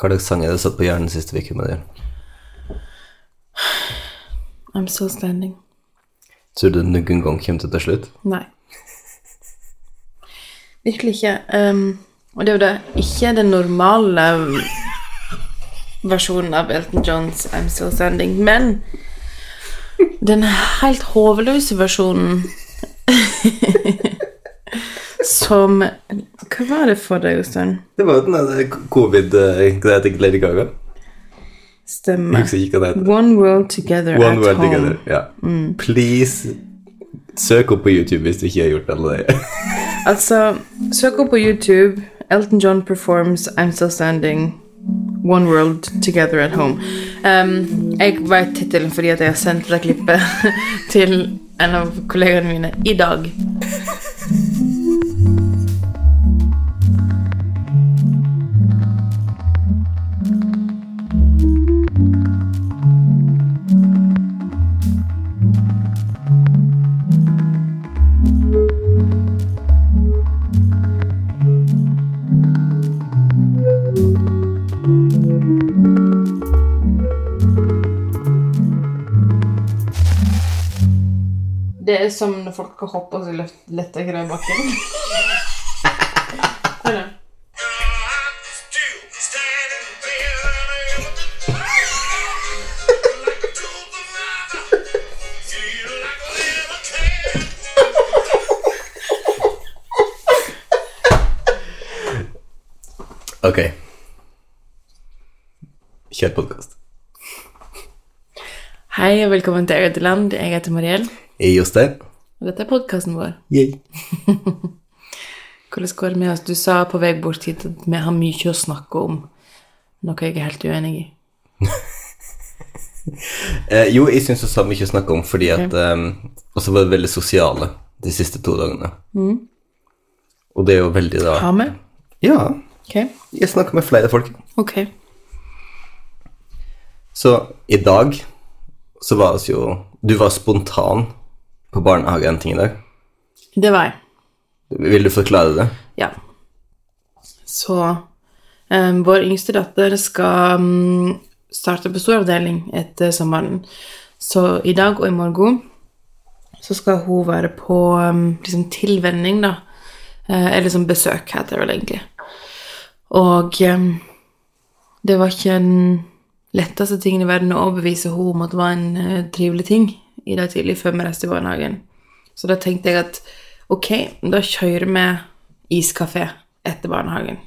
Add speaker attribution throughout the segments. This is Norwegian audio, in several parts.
Speaker 1: Hva slags sang er det satt på hjernen siste uke med deg?
Speaker 2: I'm still standing.
Speaker 1: Tror du det noen gang kommer til til slutt?
Speaker 2: Nei. Virkelig ikke. Ehm, og det er jo det ikke den normale versjonen av Elton Johns I'm Still Standing, men den helt hoveløse versjonen som Hva var det for deg, Jostein?
Speaker 1: Det var jo den der covid-greia til Lady Gaga.
Speaker 2: Stemme.
Speaker 1: Husker ikke hva det heter.
Speaker 2: One World Together
Speaker 1: One
Speaker 2: at
Speaker 1: World
Speaker 2: Home.
Speaker 1: Together. Ja. Please søk opp på YouTube hvis du ikke har gjort det.
Speaker 2: Altså, søk opp på YouTube Elton John performs I'm Still Standing One World Together at Home um, Jeg vet tittelen fordi at jeg har sendt det klippet til en av kollegene mine i dag Det er som når folk kan hoppe og så løft- lette greier i bakken Hør da.
Speaker 1: Ok. Kjør podkast.
Speaker 2: Hei og velkommen til Eget Land, jeg heter Marielle
Speaker 1: Jeg er Jostein.
Speaker 2: Og dette er podcasten vår
Speaker 1: Yay.
Speaker 2: Hvordan går det med oss? Du sa på vei bort hit at vi har mye å snakke om Noe jeg er helt uenig i
Speaker 1: Eh, jo, jeg syns vi har mye å snakke om, fordi at eh, Og så var det veldig sosiale de siste to dagene. Og det er jo veldig da
Speaker 2: Ha med?
Speaker 1: Ja.
Speaker 2: Ok
Speaker 1: Jeg snakker med flere folk.
Speaker 2: Ok
Speaker 1: Så i dag så var vi jo Du var spontan på barnehagehenting i dag.
Speaker 2: Det var jeg
Speaker 1: Vil du forklare det?
Speaker 2: Ja. Så eh, vår yngste datter skal mm, starte på storavdeling etter sommeren. Så i dag og i morgen så skal hun være på mm, liksom tilvenning, da. Eh, eller som besøk, heter det vel egentlig. Og eh, det var ikke den letteste tingen i verden å overbevise henne om at det var en eh, trivelig ting i dag tidlig før vi reiste i barnehagen. Så da tenkte jeg at ok, da kjører vi iskafé etter barnehagen.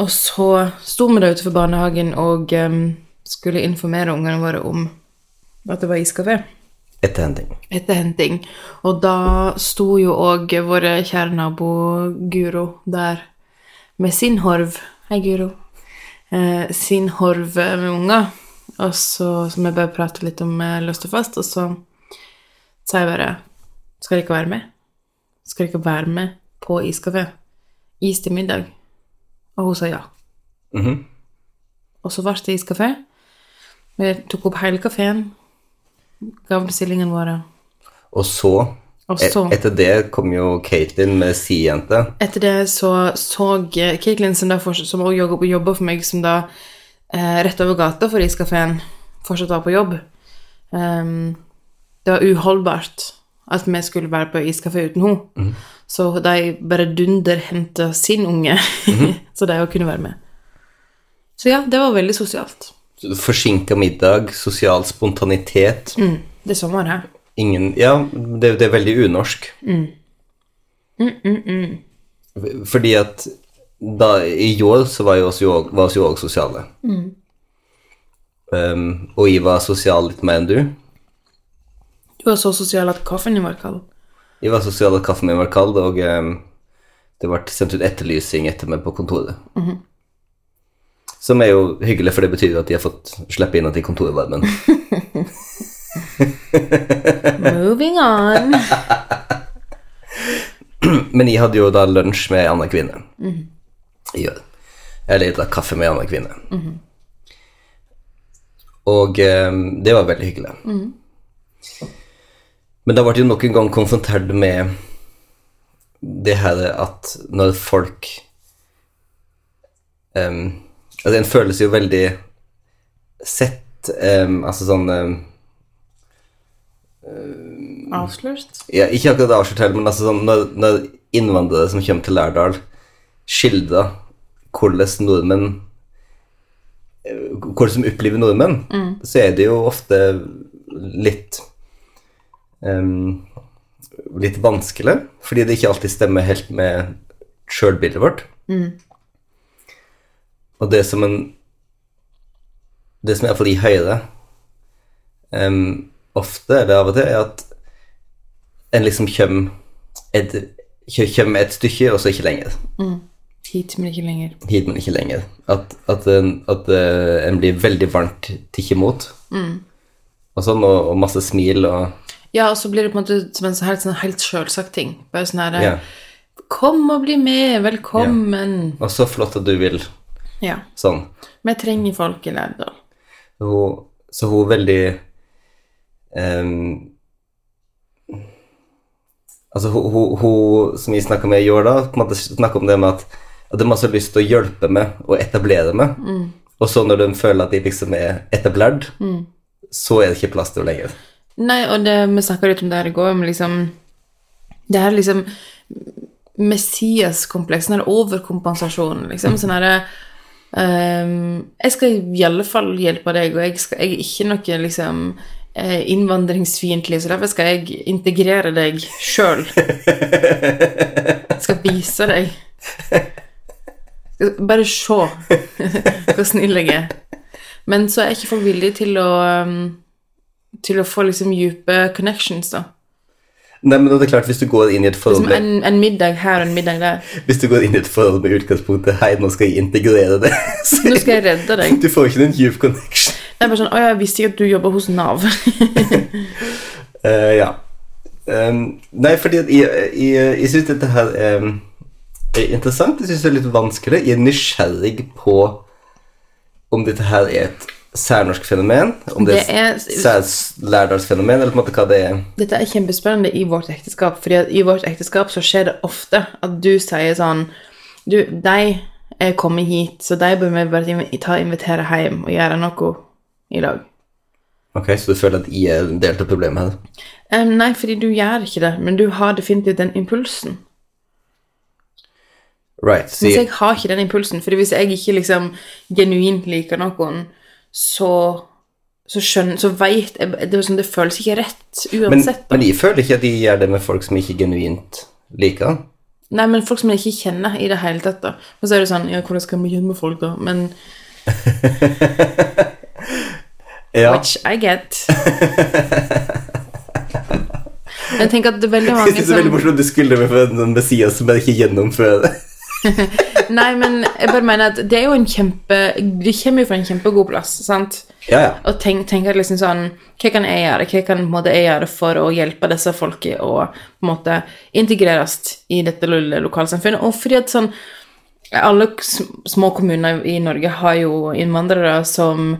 Speaker 2: Og så sto vi da utenfor barnehagen og eh, skulle informere ungene våre om at det var iskafé
Speaker 1: Etter henting.
Speaker 2: etter henting. Og da sto jo òg vår kjære nabo Guro der med sin horv. Hei, Guro. Eh, sin horv med unger. Og så, så vi bare prate litt om eh, løst og fast, og så sa jeg bare Skal dere ikke være med? Skal dere ikke være med på iskafé? Is til middag? Og hun sa ja.
Speaker 1: Mhm.
Speaker 2: Og så ble det iskafé. Vi tok opp hele kafeen, ga bestillingene våre.
Speaker 1: Og så,
Speaker 2: Og så-
Speaker 1: et, Etter det kom jo Caitlin med si jente.
Speaker 2: Etter det så så Caitlin, som, da fortsatt- som også jobber- jobber for meg, som da eh, rett over gata for iskafeen fortsatt var på jobb. Ehm, det var uholdbart at vi skulle være på iskafé uten henne. Så de bare dunderhenta sin unge, så de òg kunne være med. Så ja, det var veldig sosialt.
Speaker 1: Forsinka middag, sosial spontanitet.
Speaker 2: Det er sommer her.
Speaker 1: Ingen Ja, det, det er veldig unorsk.
Speaker 2: Mm.
Speaker 1: Fordi at da, i går så var jo oss jo var oss jo òg sosiale.
Speaker 2: Mm.
Speaker 1: Um, og jeg var sosial litt mer enn du.
Speaker 2: Du var så sosial at kaffen din var kald.
Speaker 1: Jeg var sosial at kaffen min var kald, og um, det ble sendt ut etterlysning etter meg på kontoret. Som er jo hyggelig, for det betyr jo at de har fått slippe inn til kontorvarmen.
Speaker 2: Moving on.
Speaker 1: Men jeg hadde jo da lunsj med ei anna kvinne. Jeg gjør det. Eller da kaffe med ei anna kvinne. Og eh, det var veldig hyggelig. Men da ble jeg jo nok en gang konfrontert med det her at når folk em, Altså, en føles jo veldig sett em, Altså sånn em,
Speaker 2: Avslørt.
Speaker 1: ja, Ikke akkurat avslørt heller, men altså sånn når, når innvandrere som kommer til Lærdal, skildrer hvordan nordmenn eh, Hvordan som opplever nordmenn, så er det jo ofte litt em, Litt vanskelig, fordi det ikke alltid stemmer helt med sjølbildet vårt. Og det som en Det som iallfall jeg hører em, ofte, eller av og til, er at en liksom kommer et, kjem et stykke, og så ikke lenger.
Speaker 2: Hit, men ikke lenger.
Speaker 1: Hit, men ikke lenger. At, at, en, at eh, en blir veldig varmt tikk imot. Og sånn, og, og masse smil og
Speaker 2: Ja, og så blir det på en måte som en sånn helt, sånn helt selvsagt ting. Bare sånn her
Speaker 1: Ja.
Speaker 2: Kom og bli med, velkommen.
Speaker 1: Og så flott at du vil.
Speaker 2: Ja.
Speaker 1: Sånn.
Speaker 2: Vi trenger folk i Lærdal.
Speaker 1: Hun, så hun er veldig ehm, Altså, hun, hun, hun som jeg snakka med i år, da, på en måte snakka om det med at, at de har så lyst til å hjelpe med og etablere med. Og så når de føler at de liksom er etablert, så er det ikke plass til henne lenger.
Speaker 2: Nei, og det, vi snakka litt om det her i går, men liksom Det her liksom Messias-kompleksen, eller overkompensasjonen, liksom. Sånn herre ehm, Jeg skal i alle fall hjelpe deg, og jeg, skal, jeg er ikke noe liksom eh, innvandringsfiendtlig, så derfor skal jeg integrere deg sjøl. Skal vise deg. Skal Bare se hvor snill jeg er. Men så er ikke folk villige til å ehm, til å få liksom dype connections, da.
Speaker 1: Nei, men det er klart, hvis du går inn i et forhold
Speaker 2: Som
Speaker 1: med,
Speaker 2: en, en middag her og en middag der.
Speaker 1: hvis du går inn i et forhold med utgangspunktet 'Hei, nå skal jeg integrere det', så
Speaker 2: Nå skal jeg redde deg.
Speaker 1: du får ikke en djup connection.
Speaker 2: Det er bare sånn Å, jeg visste ikke at du jobber hos Nav.
Speaker 1: Eh, ja. Ehm, nei, fordi at jeg, jeg, jeg syns dette her ehm, er interessant. Jeg syns det er litt vanskelig. Jeg er nysgjerrig på om dette her er et særnorsk fenomen, om det,
Speaker 2: Det
Speaker 1: er
Speaker 2: er-
Speaker 1: et særlærdalsfenomen, eller på en måte hva det er.
Speaker 2: Dette er kjempespennende i vårt ekteskap, fordi at i vårt ekteskap så skjer det ofte at du sier sånn Du, de er kommet hit, så de bør vi bare invi- ta og invitere hjem og gjøre noe i dag.
Speaker 1: Ok, Så du føler at jeg er en del av problemet her?
Speaker 2: Em, nei, fordi du gjør ikke det, men du har definitivt den impulsen.
Speaker 1: Right. Så
Speaker 2: Mens
Speaker 1: jeg,
Speaker 2: jeg har ikke den impulsen, for hvis jeg ikke liksom genuint liker noen, så så skjønner, så vet jeg, det, er sånn, det føles ikke rett
Speaker 1: men,
Speaker 2: uansett. da.
Speaker 1: men jeg føler ikke at jeg gjør det med folk som jeg ikke genuint liker.
Speaker 2: Nei, men folk som jeg ikke kjenner i det hele tatt, da. Og så er det sånn, ja, hvordan skal vi gjemme folk da? Men,
Speaker 1: Ja.
Speaker 2: which I get. Men jeg tenker at det er veldig
Speaker 1: Jeg
Speaker 2: mange
Speaker 1: synes det er veldig
Speaker 2: som...
Speaker 1: morsomt at du skylder meg for en Messias som jeg ikke gjennomfører.
Speaker 2: Nei, men jeg bare mener at det er jo en kjempe... Det kommer jo fra en kjempegod plass, sant?
Speaker 1: Ja, ja.
Speaker 2: Og tenk, tenker liksom sånn Hva kan jeg gjøre? Hva kan på en måte, jeg gjøre for å hjelpe disse folket å på en måte integreres i dette lille lokalsamfunnet? Og fordi at sånn Alle k- sm- små kommuner i Norge har jo innvandrere som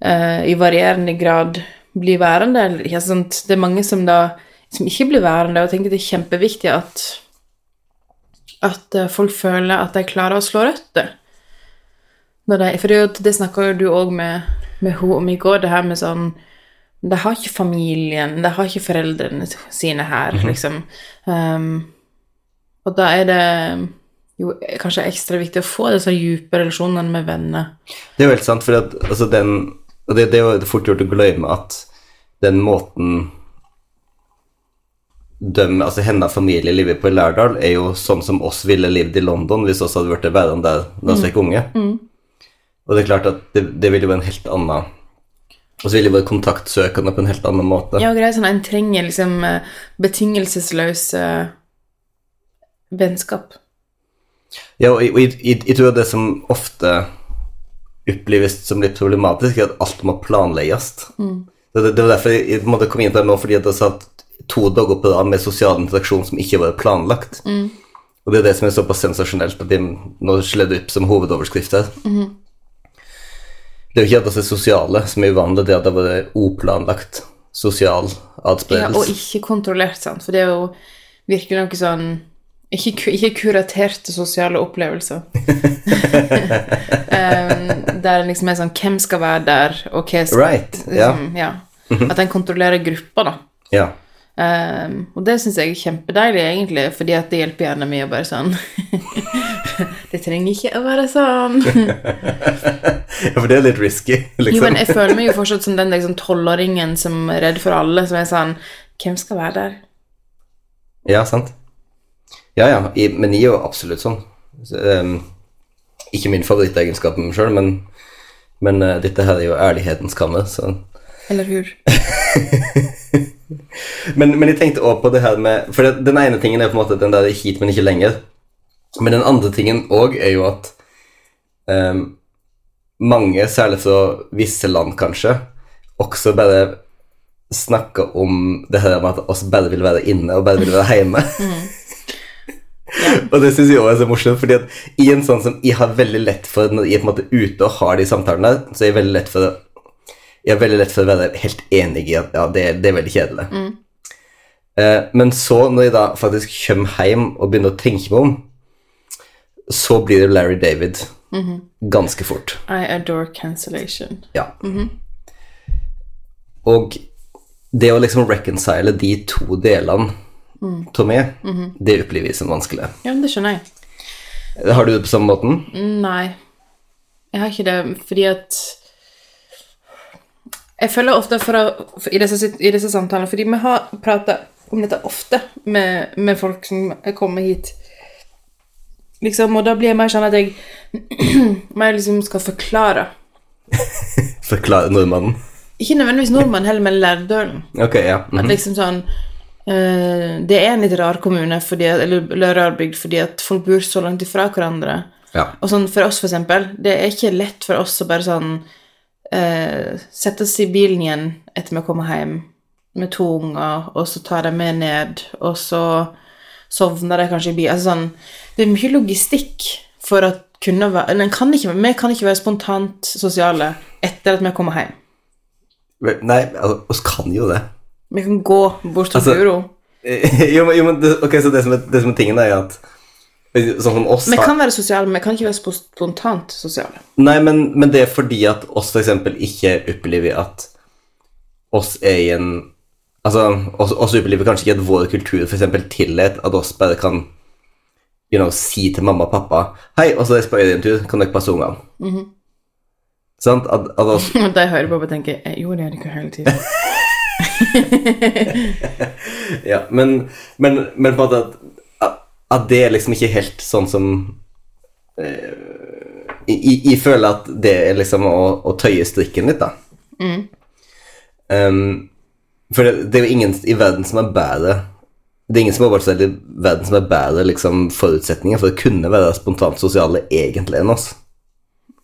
Speaker 2: eh, i varierende grad blir værende. Eller, ikke sant? Det er mange som da som ikke blir værende, og jeg tenker det er kjempeviktig at at eh, folk føler at de klarer å slå røtter. Når de, for det, er jo- det snakker jo du òg med, med hun om i går, det her med sånn De har ikke familien, de har ikke foreldrene sine her, liksom. Um, og da er det jo kanskje ekstra viktig å få disse dype relasjonene med venner.
Speaker 1: Det er jo helt sant, for at, altså, den, og det, det er jo fort gjort å glemme at den måten dem, altså hennes familie lever på i Lærdal, er jo sånn som oss ville levd i London hvis oss hadde vært verden der da vi var unge. Og det er klart at det, det ville jo være en helt annen Og så ville jo være kontaktsøkende på en helt annen måte.
Speaker 2: Ja, og greit, sånn, En trenger liksom eh, betingelsesløse eh, vennskap.
Speaker 1: Ja, og jeg, og jeg- jeg, jeg tror det som ofte oppleves som litt problematisk, er at alt må planlegges.
Speaker 2: Mm.
Speaker 1: Det, det, det var derfor jeg, jeg på en måte kom inn til det nå, fordi at jeg satt to dager på rad med sosial interaksjon som ikke var planlagt.
Speaker 2: Mm.
Speaker 1: Og det er det som er såpass sensasjonelt at de nå slår det opp som hovedoverskrift her.
Speaker 2: Mm-hmm.
Speaker 1: Det er jo ikke at det er sosiale som er uvanlig, det er at det har vært oplanlagt sosial
Speaker 2: Ja, og
Speaker 1: adspredelse.
Speaker 2: ikke kontrollert, sant. For det er jo, virker noe sånn Ikke, ku- ikke kuraterte sosiale opplevelser. um, der det liksom er sånn Hvem skal være der, og hva skal
Speaker 1: Right, ja. Mhm.
Speaker 2: liksom, ja. At en kontrollerer gruppa, da.
Speaker 1: Ja.
Speaker 2: Um, og det syns jeg er kjempedeilig, egentlig, fordi at det hjelper hjernen min å bare sånn Det trenger ikke å være sånn.
Speaker 1: ja, for det er litt risky,
Speaker 2: Jo,
Speaker 1: liksom.
Speaker 2: men jeg føler meg jo fortsatt som den liksom tolvåringen som er redd for alle, som er sånn Hvem skal være der?
Speaker 1: Ja, sant. Ja, ja, i, men jeg er jo absolutt sånn. Så, ehm, ikke min favorittegenskap med meg sjøl, men, men eh, dette her er jo ærlighetens kamme. Så.
Speaker 2: Eller hur?
Speaker 1: Men, men jeg tenkte også på det her med For det, den ene tingen er på en måte den der hit, men ikke lenger. Men den andre tingen òg er jo at ehm, mange, særlig fra visse land kanskje, også bare snakker om det her med at oss bare vil være inne og bare vil være hjemme. Og det syns jeg òg er så morsomt, fordi at i en sånn som jeg har veldig lett for når jeg på en måte er ute og har de samtalene, så er jeg veldig lett for å jeg har veldig lett for å være helt enig i at ja, det, det er veldig kjedelig. Eh, men så, når jeg da faktisk kommer hjem og begynner å tenke meg om, så blir det Larry David ganske fort.
Speaker 2: I adore cancellation.
Speaker 1: Ja. Og det å liksom reconcile de to delene av meg, det opplever jeg som vanskelig.
Speaker 2: Ja, men det skjønner jeg.
Speaker 1: Har du det på samme måten?
Speaker 2: Nei. Jeg har ikke det fordi at Jeg føler ofte for å, for, i, disse, sit- i disse samtalene Fordi vi har prata om dette ofte med, med folk som kommer hit. Liksom, og da blir jeg mer sånn at jeg, mer liksom skal forklare.
Speaker 1: Forklare nordmannen.
Speaker 2: Ikke nødvendigvis nordmann heller, men lærdølen.
Speaker 1: Ok, ja. mhm.
Speaker 2: Liksom sånn eh, Det er en litt rar kommune, fordi, at- eller, eller rar bygd, fordi at folk bor så langt ifra hverandre.
Speaker 1: ja.
Speaker 2: Og sånn for oss, for eksempel, det er ikke lett for oss å bare sånn eh, Sette oss i bilen igjen etter vi kommer hjem med to unger, og så tar de med ned, og så sovner de kanskje i bilen Altså sånn Det er mye logistikk for å kunne være eller en kan ikke, Vi kan ikke være spontant sosiale etter at vi kommer hjem.
Speaker 1: Vel, Nei, al- oss kan jo det.
Speaker 2: Vi kan gå bort til
Speaker 1: Altså,
Speaker 2: buro.
Speaker 1: jo, men, jo, men det, ok, så det som, er, det som er tingen er at Sånn som oss
Speaker 2: Vi
Speaker 1: har-
Speaker 2: kan være sosiale, men vi kan ikke være spo- spontant sosiale.
Speaker 1: Nei, men, men det er fordi at oss for eksempel ikke opplever at oss er i en Altså, oss, oss opplever kanskje ikke at vår kultur for eksempel tillet at oss bare kan you know, si til mamma og pappa Hei, oss reiser på øyentur, kan dere passe ungene? Sant? At, at oss
Speaker 2: Og de hører på og tenker «Eh, Jo, det er det ikke hele tiden.
Speaker 1: Ja, men, men, men på en måte at, at det er liksom ikke helt sånn som eh, jeg, jeg føler at det er liksom å, å tøye strikken litt, da. Um, for det, det er jo ingen i verden som er bedre Det er ingen som har vært så veldig i verden som er bedre liksom, forutsetninger for å kunne være spontant sosiale egentlig enn oss.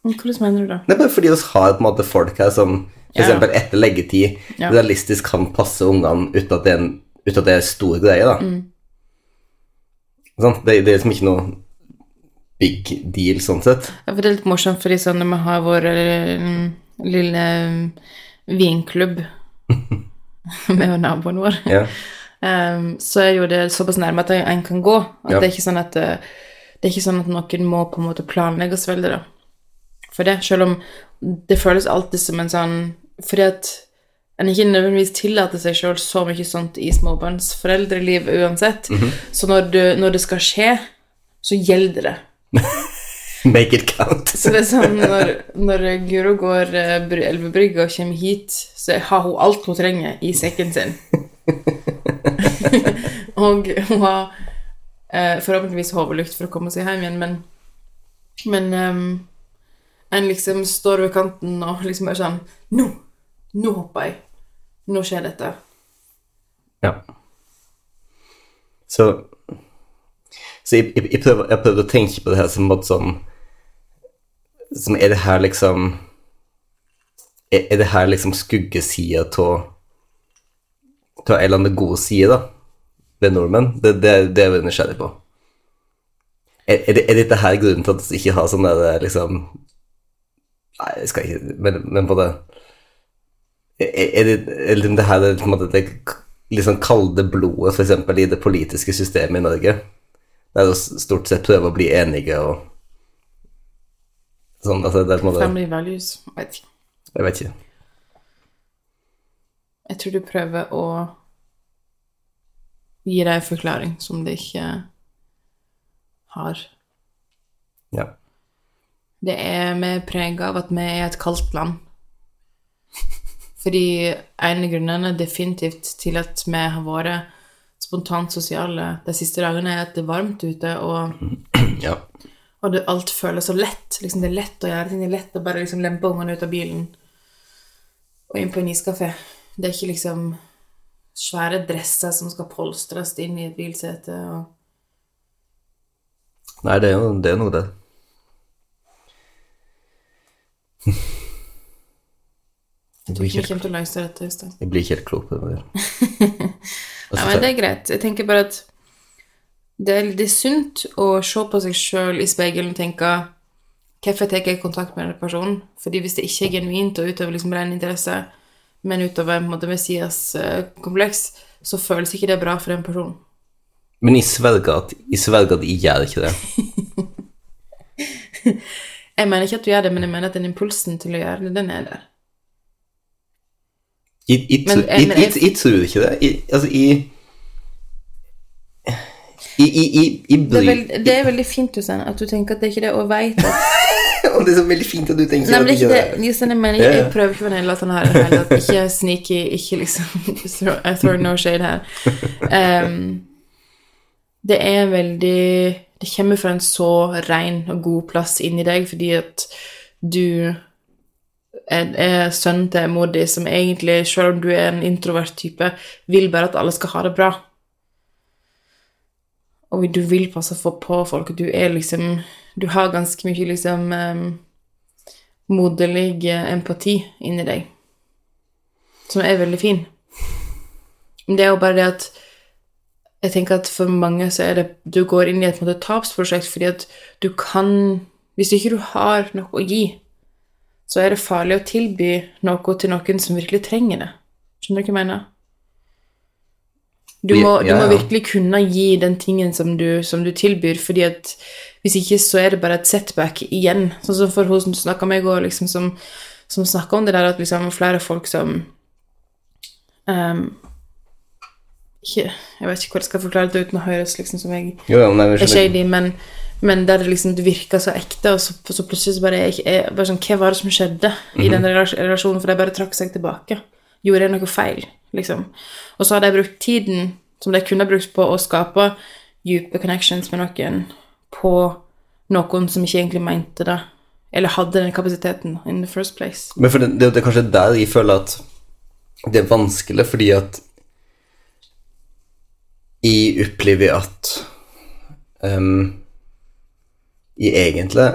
Speaker 2: Hvordan mener du det?
Speaker 1: Det er bare fordi vi har på en måte folk her som f.eks.
Speaker 2: Ja.
Speaker 1: eksempel etter leggetid
Speaker 2: Ja.
Speaker 1: realistisk kan passe ungene uten at det er en, uten at det er en stor greie, da.
Speaker 2: Mm.
Speaker 1: Sant? Det, det er liksom ikke noe big deal sånn sett.
Speaker 2: Ja, for det er litt morsomt, fordi sånn når vi har vår eh, lille eh, vinklubb med naboen vår,
Speaker 1: Ja.
Speaker 2: em, så er jo det såpass nærme at en kan gå. At
Speaker 1: Ja.
Speaker 2: det er ikke sånn at eh, det er ikke sånn at noen må på en måte planlegge oss veldig, da. For det, selv om det føles alltid som en sånn Fordi at en ikke nødvendigvis tillater seg sjøl så mye sånt i småbarnsforeldreliv uansett.
Speaker 1: Mhm.
Speaker 2: Så når, du, når det skal skje, så gjelder det.
Speaker 1: Make it count.
Speaker 2: Så det er sånn, når, når Guro går eh, Br- Elvebrygga og kommer hit, så har hun alt hun trenger i sekken sin. og hun har eh, forhåpentligvis hodelykt for å komme seg hjem igjen, men, men ehm, en liksom står ved kanten og liksom er sånn Nå! Nå hopper jeg. Nå skjer dette.
Speaker 1: Ja. Så, så jeg, jeg, jeg, prøver, jeg prøver å tenke på det her som på en måte sånn Som er det her liksom Er, er det her liksom skuggesida av en eller annen god side, da, ved nordmenn? Det, det, det er jeg nysgjerrig på. Er, er, det, er dette her grunnen til at vi ikke har sånn der liksom Nei, jeg skal ikke Men, men på det er, er det, er liksom det liksom her er på en måte det k- litt sånn kalde blodet, f.eks. i det politiske systemet i Norge? det er jo stort sett prøve å bli enige og sånn. Altså, det er på en måte
Speaker 2: Family values. Jeg vet ikke.
Speaker 1: Jeg vet ikke.
Speaker 2: Jeg tror du prøver å gi deg en forklaring som de ikke har.
Speaker 1: Ja.
Speaker 2: Det er med preg av at vi er et kaldt land. Fordi en av grunnene definitivt til at vi har vært spontant sosiale de siste dagene, er at det er varmt ute, og,
Speaker 1: ja.
Speaker 2: og det, alt føles så lett. Liksom, det er lett å gjøre ting. Det er lett å bare liksom, lempe ungene ut av bilen og inn på en iskafé. Det er ikke liksom svære dresser som skal polstres inn i et bilsete. Og...
Speaker 1: Nei, det er jo det er noe, det. Jeg blir
Speaker 2: Vi
Speaker 1: ikke, helt-
Speaker 2: kommer til å løse dette i sted.
Speaker 1: jeg blir ikke helt klok på det. men- Og
Speaker 2: Ja,
Speaker 1: så-
Speaker 2: men det er greit. Jeg tenker bare at det er, det er sunt å se på seg sjøl i speilet og tenke Hvorfor tar jeg kontakt med denne personen? Fordi hvis det ikke er genuint og utover liksom ren interesse, men utover på en måte Messias-kompleks, så føles ikke det bra for den personen.
Speaker 1: Men jeg sverger at jeg sverger at jeg gjør ikke det.
Speaker 2: Jeg mener ikke at du gjør det, men jeg mener at den impulsen til å gjøre det, den er der.
Speaker 1: Jeg, jeg,
Speaker 2: Men-
Speaker 1: tro- jeg,
Speaker 2: men
Speaker 1: jeg,
Speaker 2: jeg-
Speaker 1: jeg tror ikke det. Jeg, altså, jeg Jeg, jeg, jeg, jeg
Speaker 2: Det
Speaker 1: bryr
Speaker 2: er, vel- det er veldig fint, Jostein, at du tenker at det er ikke det, og veit at
Speaker 1: Og det er så veldig fint at du tenker
Speaker 2: Nei, men det
Speaker 1: at
Speaker 2: er ikke
Speaker 1: jeg
Speaker 2: det. Just, jeg mener,
Speaker 1: Ja,
Speaker 2: jeg,
Speaker 1: ja.
Speaker 2: jeg prøver ikke å fornedre at han her er heller. Ikke sneaky, ikke liksom throw, I throw no shade her. Ehm, det er veldig Det kommer fra en så ren og god plass inni deg fordi at du er, er sønnen til mor di som egentlig, selv om du er en introvert type, vil bare at alle skal ha det bra. Og du vil passe for på folk, og du er liksom Du har ganske mye liksom ehm, moderlig eh, empati inni deg, som er veldig fin. Men det er jo bare det at jeg tenker at for mange så er det Du går inn i et på en måte, tapsprosjekt fordi at du kan Hvis ikke du har noe å gi, så er det farlig å tilby noe til noen som virkelig trenger det. Skjønner du hva jeg mener? Du må, du
Speaker 1: Ja,
Speaker 2: må
Speaker 1: ja.
Speaker 2: virkelig kunne gi den tingen som du, som du tilbyr, fordi at hvis ikke så er det bare et setback igjen. Sånn som for hun som snakka med i går, liksom, som, som snakka om det der at liksom flere folk som ehm, ikke, Jeg vet ikke hvordan jeg skal forklare det uten å høres liksom som jeg
Speaker 1: Jo, ja, nei, men
Speaker 2: er
Speaker 1: jeg skjønner.
Speaker 2: shady, men, men der det liksom det virker så ekte, og så, så plutselig så bare, er jeg, ikke- er bare sånn, Hva var det som skjedde i den relas- relasjonen? For de bare trakk seg tilbake. Gjorde jeg noe feil, liksom? Og så har de brukt tiden som de kunne brukt på å skape dype connections med noen, på noen som ikke egentlig mente det, eller hadde den kapasiteten in the first place.
Speaker 1: Men for det, det, det er kanskje der jeg føler at det er vanskelig, fordi at jeg opplever at ehm, jeg egentlig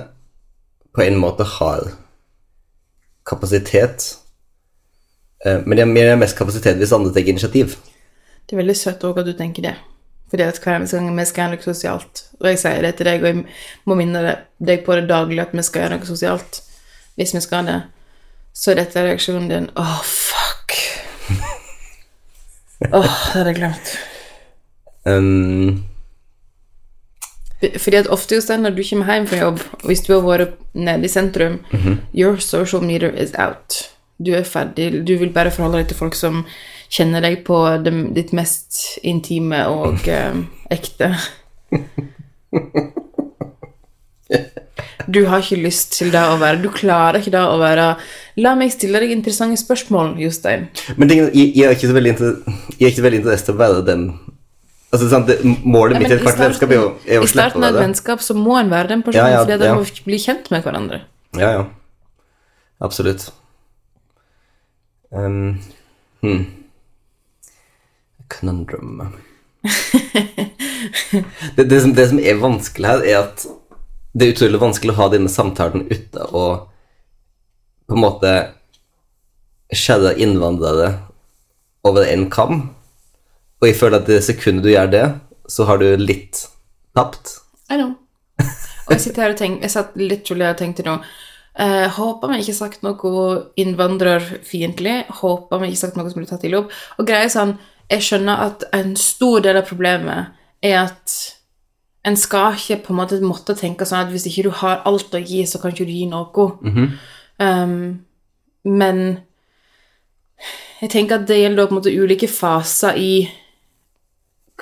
Speaker 1: på en måte har kapasitet, eh, men jeg, men jeg har mest kapasitet hvis andre tar initiativ.
Speaker 2: Det er veldig søtt også at du tenker det. Fordi at hver eneste gang vi skal gjøre noe sosialt, og jeg sier det til deg, og jeg må minne deg- deg på det daglig at vi skal gjøre noe sosialt, hvis vi skal det, så er dette reaksjonen din Åh, fuck. Åh, det hadde jeg glemt.
Speaker 1: Ehm,
Speaker 2: Fordi at ofte Jostein, når du kommer hjem fra jobb, og hvis du har vært nede i sentrum,
Speaker 1: Mhm.
Speaker 2: your social meter is out. Du er ferdig. Du vil bare forholde deg til folk som kjenner deg på det, ditt mest intime og eh, ekte. Du har ikke lyst til det å være Du klarer ikke det å være La meg stille deg interessante spørsmål, Jostein.
Speaker 1: men tingen, er, jeg, jeg, er ikke så veldig inter- jeg er ikke så veldig interessert i å være den Altså, sant, det, Målet
Speaker 2: Ja,
Speaker 1: mitt
Speaker 2: men
Speaker 1: i ethvert vennskap er jo er
Speaker 2: I
Speaker 1: å slippe
Speaker 2: starten av
Speaker 1: å
Speaker 2: et
Speaker 1: være det.
Speaker 2: vennskap så må en være den personen,
Speaker 1: Ja, ja,
Speaker 2: fordi da
Speaker 1: ja.
Speaker 2: må vi bli kjent med hverandre.
Speaker 1: Ja, ja. Absolutt. Ehm, hmm. Conundrum det, det, som, det som er vanskelig her, er at det er utrolig vanskelig å ha denne samtalen uten å på en måte skjære innvandrere over en kam. Og jeg føler at det sekundet du gjør det, så har du litt tapt.
Speaker 2: I know. Og jeg sitter her og tenker, jeg satt literally og tenkte nå eh, Håper vi ikke har sagt noe innvandrerfiendtlig. Håper vi ikke har sagt noe som blir tatt i lobb. Og greia er sånn Jeg skjønner at en stor del av problemet er at En skal ikke på en måte måtte tenke sånn at hvis ikke du har alt å gi, så kan ikke du gi noe. um, men jeg tenker at det gjelder da på en måte ulike faser i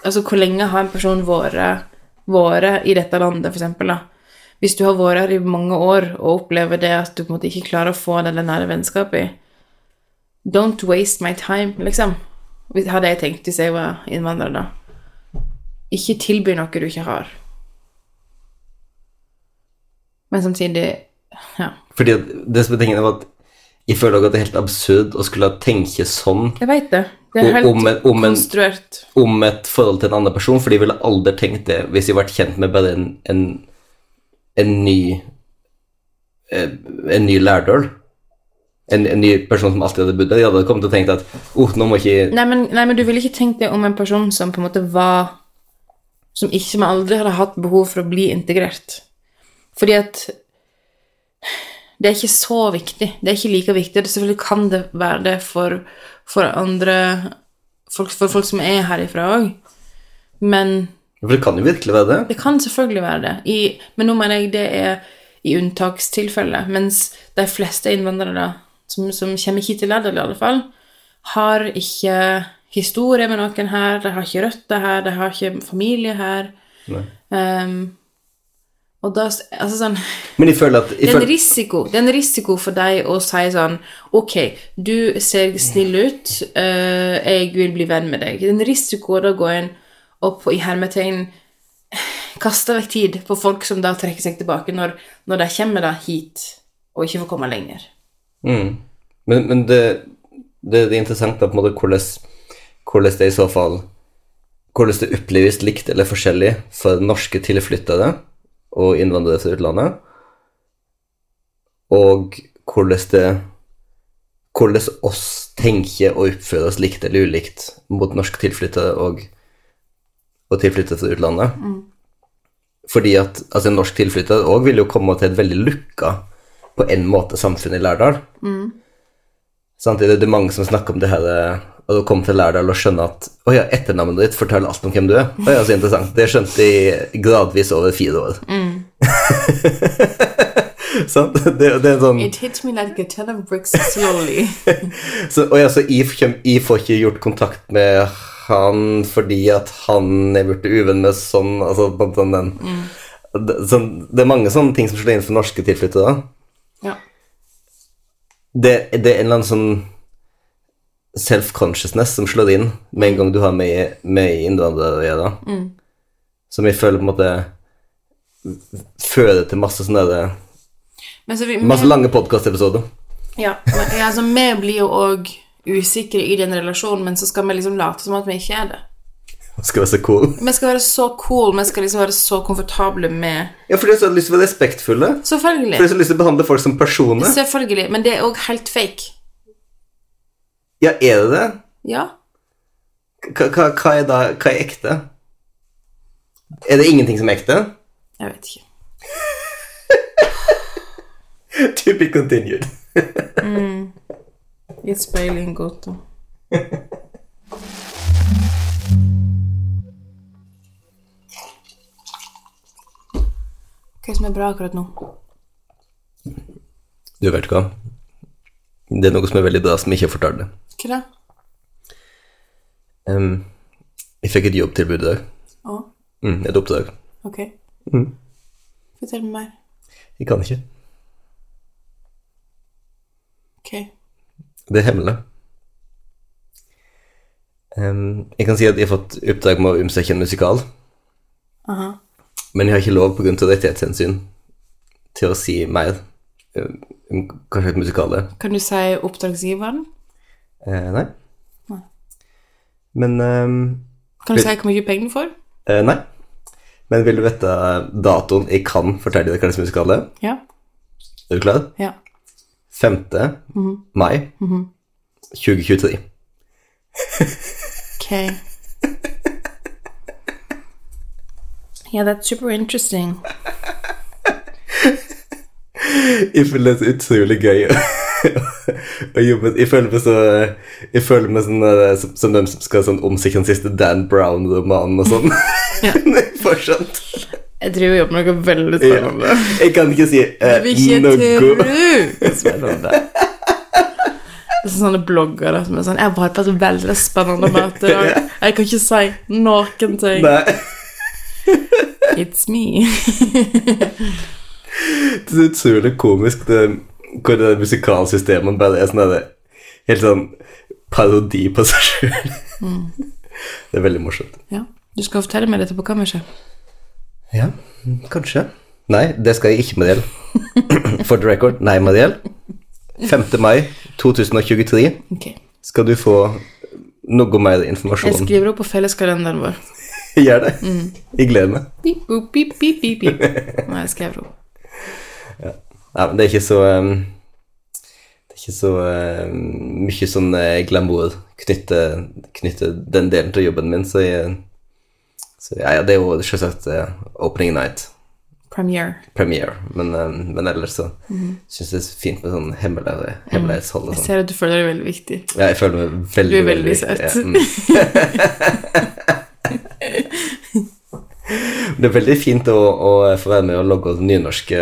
Speaker 2: Altså hvor lenge har en person vært, vært i dette landet, for eksempel, da. Hvis du har vært her i mange år og opplever det at du på en måte ikke klarer å få det nære vennskapet i Don't waste my time, liksom. Hvis- Hadde jeg tenkt hvis jeg var innvandrer, da. Ikke tilby noe du ikke har. Men samtidig Ja.
Speaker 1: Fordi at det som er tingen, var at jeg føler også at det er helt absurd å skulle tenke sånn
Speaker 2: Jeg veit det. Det er
Speaker 1: Og-
Speaker 2: helt
Speaker 1: om en- om en-
Speaker 2: konstruert.
Speaker 1: om et forhold til en annen person, for de ville aldri tenkt det hvis de vært kjent med bare en, en, en ny eh, en ny lærdøl. En, en ny person som alltid hadde bodd der. De hadde kommet til å tenke at oh, nå må ikke
Speaker 2: Nei men, nei, men du ville ikke tenkt det om en person som på en måte var Som ikke som aldri hadde hatt behov for å bli integrert. Fordi at Det er ikke så viktig. Det er ikke like viktig. Det selvfølgelig kan det være det for, for andre folk, For folk som er herifra òg. Men
Speaker 1: For det kan jo virkelig være det.
Speaker 2: det kan selvfølgelig være det. I, men nå mener jeg det er i unntakstilfeller. Mens de fleste innvandrere som, som kommer hit til landet, i alle fall, har ikke historie med noen her, de har ikke røtter her, de har ikke familie her. Ehm, og da s- Altså sånn
Speaker 1: Men jeg føler at jeg
Speaker 2: det er, en
Speaker 1: føler,
Speaker 2: risiko, det er en risiko for deg å si sånn Ok, du ser snill ut, eh, jeg vil bli venn med deg. Det er en risiko da å gå inn og på, i hermetegn kaste vekk tid på folk som da trekker seg tilbake når, når de kommer da hit og ikke får komme lenger.
Speaker 1: mm. Men, men det, det, det er interessant da, på en måte hvordan, hvordan det i så fall Hvordan det oppleves likt eller forskjellig for norske tilflyttere og innvandrere fra utlandet, og hvordan det hvordan oss tenker og oppfører oss likt eller ulikt mot norske tilflyttere og, og tilflyttere fra utlandet. Fordi at altså, en norsk tilflytter òg vil jo komme til et veldig lukka på en måte samfunn i Lærdal. Sant? Det det er mange som snakker om det her eh, og komme til Lærdal og skjønne at å ja, etternavnet ditt forteller alt om hvem du er. Å ja, så interessant. Det skjønte jeg gradvis over fire år. Sant? Det, det er en sånn
Speaker 2: It hits me like a ton of bricks slowly.
Speaker 1: så, og ja, så jeg, kjem, jeg får ikke gjort kontakt med han fordi at han er blitt uvenn med sånn altså, på- på den. Det, sånn, det er mange sånne ting som slår inn for norske tilflyttere.
Speaker 2: ja.
Speaker 1: Det, det er en eller annen sånn self-consciousness som slår inn med en gang du har med, med innvandrere å gjøre. Som jeg føler på en måte fører til masse sånne der,
Speaker 2: Men så vi,
Speaker 1: Masse lange podkastepisoder.
Speaker 2: Ja, men, ja, altså, vi blir jo òg usikre i den relasjonen, men så skal vi liksom late som at vi ikke er det.
Speaker 1: Skal være så cool.
Speaker 2: Vi skal være så cool, vi skal liksom være så komfortable med
Speaker 1: Ja, for de har så lyst til å være respektfulle. For de
Speaker 2: Selvfølgelig.
Speaker 1: har så lyst til å behandle folk som personer.
Speaker 2: Selvfølgelig. Men det er òg helt fake.
Speaker 1: Ja, er det det?
Speaker 2: Ja.
Speaker 1: Hva, hva, hva er da Hva er ekte? Er det ingenting som er ekte?
Speaker 2: Jeg vet ikke.
Speaker 1: To be continued.
Speaker 2: It's Bailey Ngoto. Hva som er bra akkurat nå?
Speaker 1: Du vet hva. Det er noe som er veldig bra, som jeg ikke har fortalt det.
Speaker 2: Hva da?
Speaker 1: Ehm, jeg fikk et jobbtilbud i dag.
Speaker 2: Å,
Speaker 1: Mm, et oppdrag.
Speaker 2: ok.
Speaker 1: Mm.
Speaker 2: Fortell meg mer.
Speaker 1: Jeg kan ikke.
Speaker 2: Ok.
Speaker 1: Det er hemmelig. Ehm, jeg kan si at jeg har fått oppdrag med å omsette en musikal,
Speaker 2: Aha.
Speaker 1: men jeg har ikke lov pga. rettighetshensyn til å si mer ehm, om hva slags musikal det er.
Speaker 2: Kan du si oppdragsgiveren?
Speaker 1: Eh, nei.
Speaker 2: Nei.
Speaker 1: Men ehm,
Speaker 2: Kan du
Speaker 1: Vil-
Speaker 2: si hvor mye penger du får?
Speaker 1: Eh, nei. Men vil du vite datoen jeg kan fortelle deg hva slags musikal det er?
Speaker 2: Ja.
Speaker 1: Er du klar?
Speaker 2: ja.
Speaker 1: 5.
Speaker 2: Mhm.
Speaker 1: mai 2023.
Speaker 2: Ok. Yeah, that's super interesting.
Speaker 1: Jeg føler det er så utrolig gøy å jobbe Jeg føler meg, så, jeg føler meg sånn, eh, som, som dem som skal sånn, omsikre den siste Dan Brown-romanen og sånn.
Speaker 2: Ja.
Speaker 1: Nei, Fortsatt.
Speaker 2: Jeg driver og jobber med noe veldig spennende.
Speaker 1: Jeg kan ikke si eh,
Speaker 2: Vi ikke
Speaker 1: noe.
Speaker 2: tro spennende. Det er sånne bloggere som er sånn Jeg var på et veldig spennende møte i dag. Jeg kan ikke si noen ting.
Speaker 1: Nei.
Speaker 2: It's me.
Speaker 1: Det er utrolig komisk det, hvor det musikalsystemet bare er sånn der, helt sånn parodi på seg sjøl. Mm. Det er veldig morsomt.
Speaker 2: Ja. Du skal fortelle meg dette på kammerset.
Speaker 1: Ja, kanskje. Nei, det skal jeg ikke med del. For the record, nei med del. 5. mai 2023
Speaker 2: Ok.
Speaker 1: skal du få noe mer
Speaker 2: Jeg
Speaker 1: informasjon.
Speaker 2: skriver opp på felleskalenderen vår.
Speaker 1: Gjør det. Jeg gleder meg.
Speaker 2: Beep, boop, beep, beep, beep, beep. Nei, jeg skrev det opp.
Speaker 1: Nei, men det er ikke så um, Det er ikke så um, mye sånn eh, glamour knyttet knytte den delen til jobben min, så jeg så ja, ja, det er jo selvsagt eh, opening night,
Speaker 2: Premiere.
Speaker 1: premiere, men, um, men ellers så
Speaker 2: Mhm.
Speaker 1: syns jeg det er fint med sånn hemmelig- hemmelighetshold og
Speaker 2: Jeg
Speaker 1: sånn.
Speaker 2: ser at du føler det er veldig viktig.
Speaker 1: Ja, jeg føler meg veldig
Speaker 2: Du er veldig søt.
Speaker 1: ja, mm. det er veldig fint å, å få være med og logge nynorske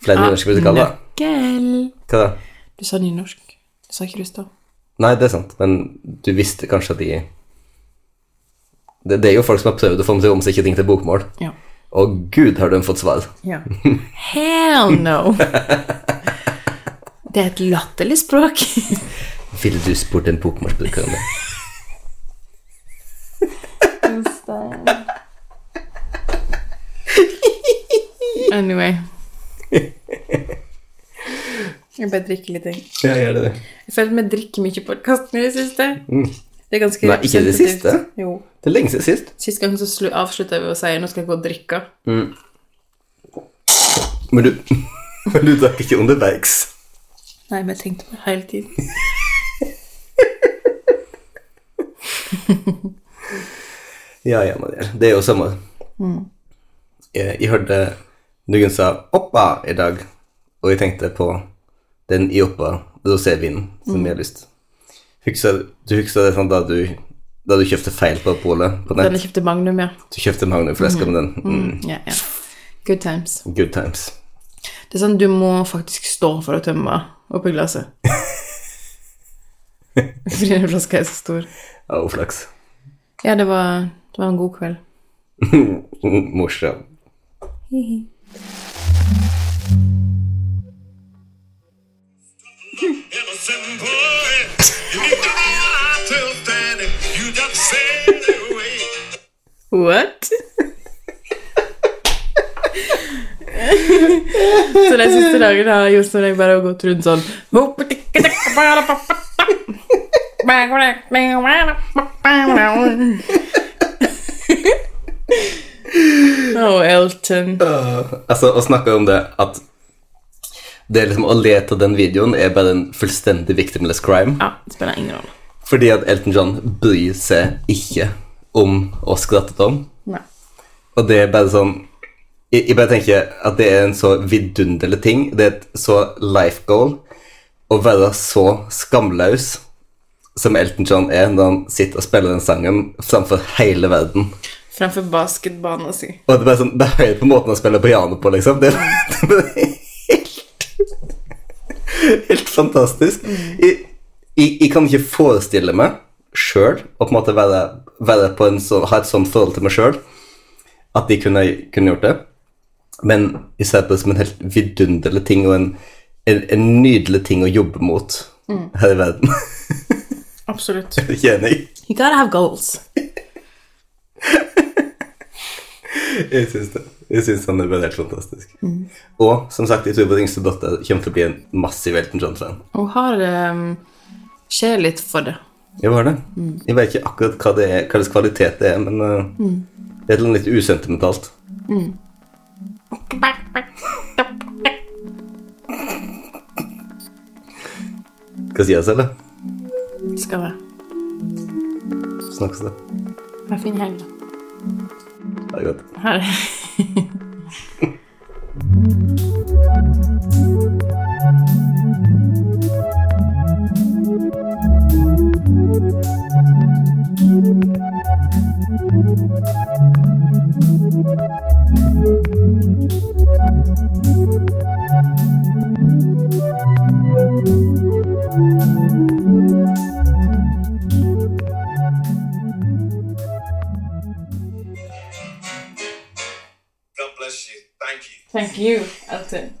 Speaker 2: Ah,
Speaker 1: flere nynorske musikaler.
Speaker 2: Nøkkel.
Speaker 1: Hva da?
Speaker 2: Du sa nynorsk. Det sa ikke du i stad.
Speaker 1: Nei, det er sant, men du visste kanskje at de det, det er jo folk som har prøvd å få dem til å omsikke ting til bokmål.
Speaker 2: Ja.
Speaker 1: Og gud, har de fått svar.
Speaker 2: Ja. Hell no! Det er et latterlig språk.
Speaker 1: Ville du spurt en bokmålsbruker om det?
Speaker 2: Anyway. Jeg bare drikker litt. Jeg
Speaker 1: Ja, gjør det.
Speaker 2: Jeg føler at vi drikker mye i podkasten i det siste. Det er ganske
Speaker 1: Mm. Nei, ikke i det
Speaker 2: representativt.
Speaker 1: siste.
Speaker 2: Jo.
Speaker 1: Det er lenge siden sist.
Speaker 2: Sist gang så slu- avslutta vi å si 'nå skal jeg gå og drikke'.
Speaker 1: Men du, men du drakk ikke underveis.
Speaker 2: Nei, men jeg tenkte på det hele tiden.
Speaker 1: Ja, ja, men det er- det er jo samme. Jeg, jeg hørte noen sa 'oppa' i dag, og jeg tenkte på den i oppa rosévinen som jeg har lyst. Husker, du husker det sånn da du, da du kjøpte feil på polet på nett?
Speaker 2: Den jeg kjøpte Magnum, ja.
Speaker 1: Du kjøpte magnumflaske med den. Mm.
Speaker 2: ja, ja. Good times.
Speaker 1: Good times.
Speaker 2: Det er sånn du må faktisk stå for å tømme oppi glasset. Fordi den flaska er så stor.
Speaker 1: Og flaks.
Speaker 2: Ja, det var, det var en god kveld.
Speaker 1: Mm, Morsom.
Speaker 3: Innocent boy, you need to be alive till then. You just sail away.
Speaker 2: What? så de siste dagene har Jostein og jeg bare gått rundt sånn Oh, Elton.
Speaker 1: altså, å snakke om det at det liksom å le av den videoen er bare en fullstendig victimless crime.
Speaker 2: Ja, det spiller ingen rolle.
Speaker 1: Fordi at Elton John bryr seg ikke om å skratte til ham.
Speaker 2: Nei.
Speaker 1: Og det er bare sånn jeg, jeg bare tenker at det er en så vidunderlig ting. Det er et så life goal å være så skamløs som Elton John er når han sitter og spiller den sangen framfor hele verden.
Speaker 2: Framfor basketbanen si.
Speaker 1: Og det er bare sånn, det er høyt på måten han spiller piano på, liksom. Det, det er bare helt, helt fantastisk. Jeg, jeg, jeg kan ikke forestille meg sjøl å på en måte være, være på en sånn, ha et sånt forhold til meg sjøl at de kunne, kunne gjort det. Men jeg ser på det som en helt vidunderlig ting og en, en, en nydelig ting å jobbe mot her i verden.
Speaker 2: Absolutt.
Speaker 1: Det er ikke enig.
Speaker 2: You gotta have goals.
Speaker 1: Jeg syns det. Jeg syns han er bare helt fantastisk. Og som sagt, jeg tror vår yngste datter kommer til å bli en massiv Elton John-fan.
Speaker 2: Hun har um, skjer litt for det.
Speaker 1: Jeg var det. Jeg vet ikke akkurat hva det er, hva slags kvalitet det er, men eh, det er et eller annet litt usentimentalt. Skal jeg si oss, eller?
Speaker 2: Skal vi.
Speaker 1: Snakkes det.
Speaker 2: Ha en fin helg, da.
Speaker 1: Ha det godt.
Speaker 2: Ha det.
Speaker 3: God bless you. Thank you.
Speaker 2: Thank you, Elton.